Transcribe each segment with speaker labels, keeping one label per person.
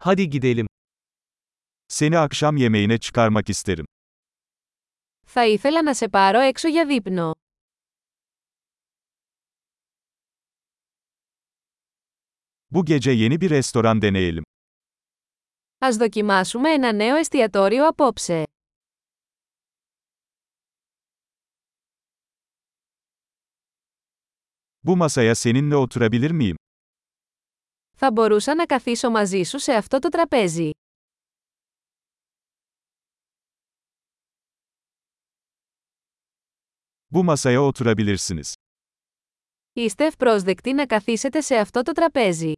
Speaker 1: Hadi gidelim.
Speaker 2: Seni akşam yemeğine çıkarmak isterim.
Speaker 3: Θα ήθελα να σε πάρω έξω για δείπνο.
Speaker 2: Bu gece yeni bir restoran deneyelim.
Speaker 3: Ας δοκιμάσουμε ένα νέο εστιατόριο απόψε.
Speaker 2: Bu masaya seninle oturabilir miyim?
Speaker 3: Θα μπορούσα να καθίσω μαζί σου σε αυτό το τραπέζι.
Speaker 2: Bu masaya oturabilirsiniz.
Speaker 3: Είστε ευπρόσδεκτοι να καθίσετε σε αυτό το τραπέζι.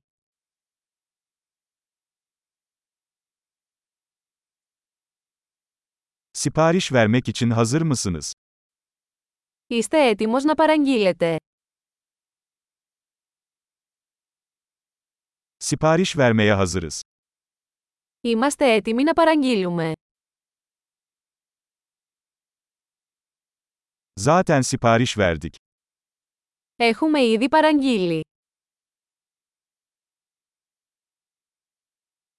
Speaker 2: Sipariş vermek için hazır mısınız?
Speaker 3: Είστε έτοιμος να παραγγείλετε.
Speaker 2: Sipariş vermeye hazırız.
Speaker 3: Είμαστε έτοιμοι να παραγγείλουμε.
Speaker 2: Zaten sipariş verdik.
Speaker 3: Έχουμε ήδη παραγγείλει.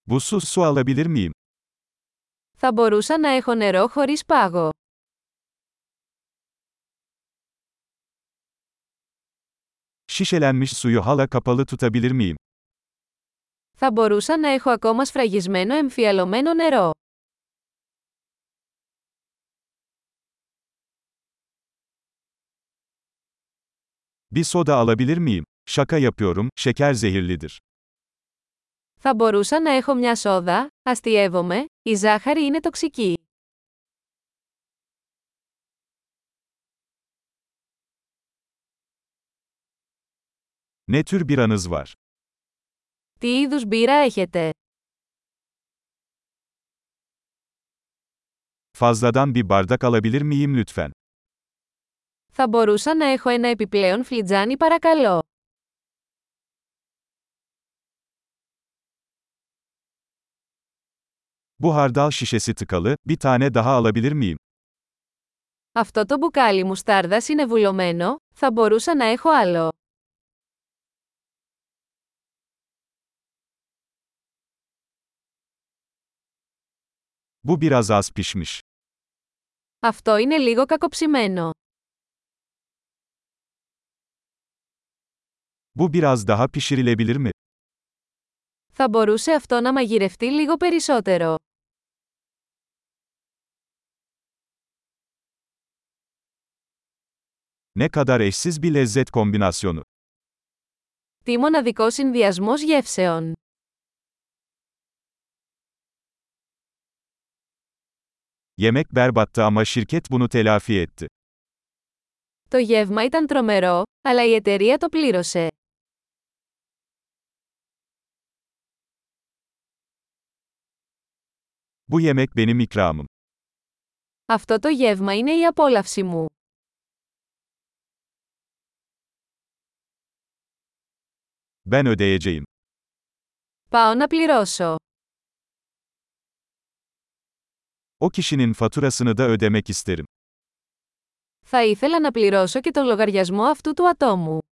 Speaker 2: Buzsuz su alabilir miyim?
Speaker 3: Θα μπορούσα να έχω νερό χωρίς πάγο.
Speaker 2: Şişelenmiş suyu hala kapalı tutabilir miyim?
Speaker 3: Θα μπορούσα να έχω ακόμα σφραγισμένο εμφιαλωμένο νερό.
Speaker 2: Bir soda alabilir miyim? Şaka yapıyorum, şeker zehirlidir.
Speaker 3: Θα μπορούσα να έχω μια σόδα, αστειεύομαι, η ζάχαρη είναι τοξική.
Speaker 2: Ne tür bir anız var?
Speaker 3: Τι είδους μπύρα έχετε?
Speaker 2: Fazladan bir bardak alabilir miyim lütfen?
Speaker 3: Θα μπορούσα να έχω ένα επιπλέον φλιτζάνι παρακαλώ.
Speaker 2: Bu hardal şişesi tıkalı, bir tane daha alabilir miyim?
Speaker 3: Αυτό το μπουκάλι μουστάρδας είναι βουλωμένο, θα μπορούσα να έχω άλλο.
Speaker 2: Bu biraz az pişmiş.
Speaker 3: Αυτό είναι λίγο κακοψημένο.
Speaker 2: Bu biraz daha pişirilebilir mi?
Speaker 3: Θα μπορούσε αυτό να μαγειρευτεί λίγο περισσότερο.
Speaker 2: Ne kadar eşsiz bir lezzet kombinasyonu.
Speaker 3: Τι μοναδικό συνδυασμός γεύσεων.
Speaker 2: Yemek berbattı ama şirket bunu telafi etti.
Speaker 3: Το γεύμα ήταν τρομερό, αλλά η εταιρεία το πλήρωσε.
Speaker 2: Bu yemek benim ikramım.
Speaker 3: Αυτό το γεύμα είναι η απόλαυση μου.
Speaker 2: Ben ödeyeceğim.
Speaker 3: Πάω να πληρώσω.
Speaker 2: O kişinin faturasını da ödemek isterim.
Speaker 3: Θα ήθελα να πληρώσω και τον λογαριασμό αυτού του ατόμου.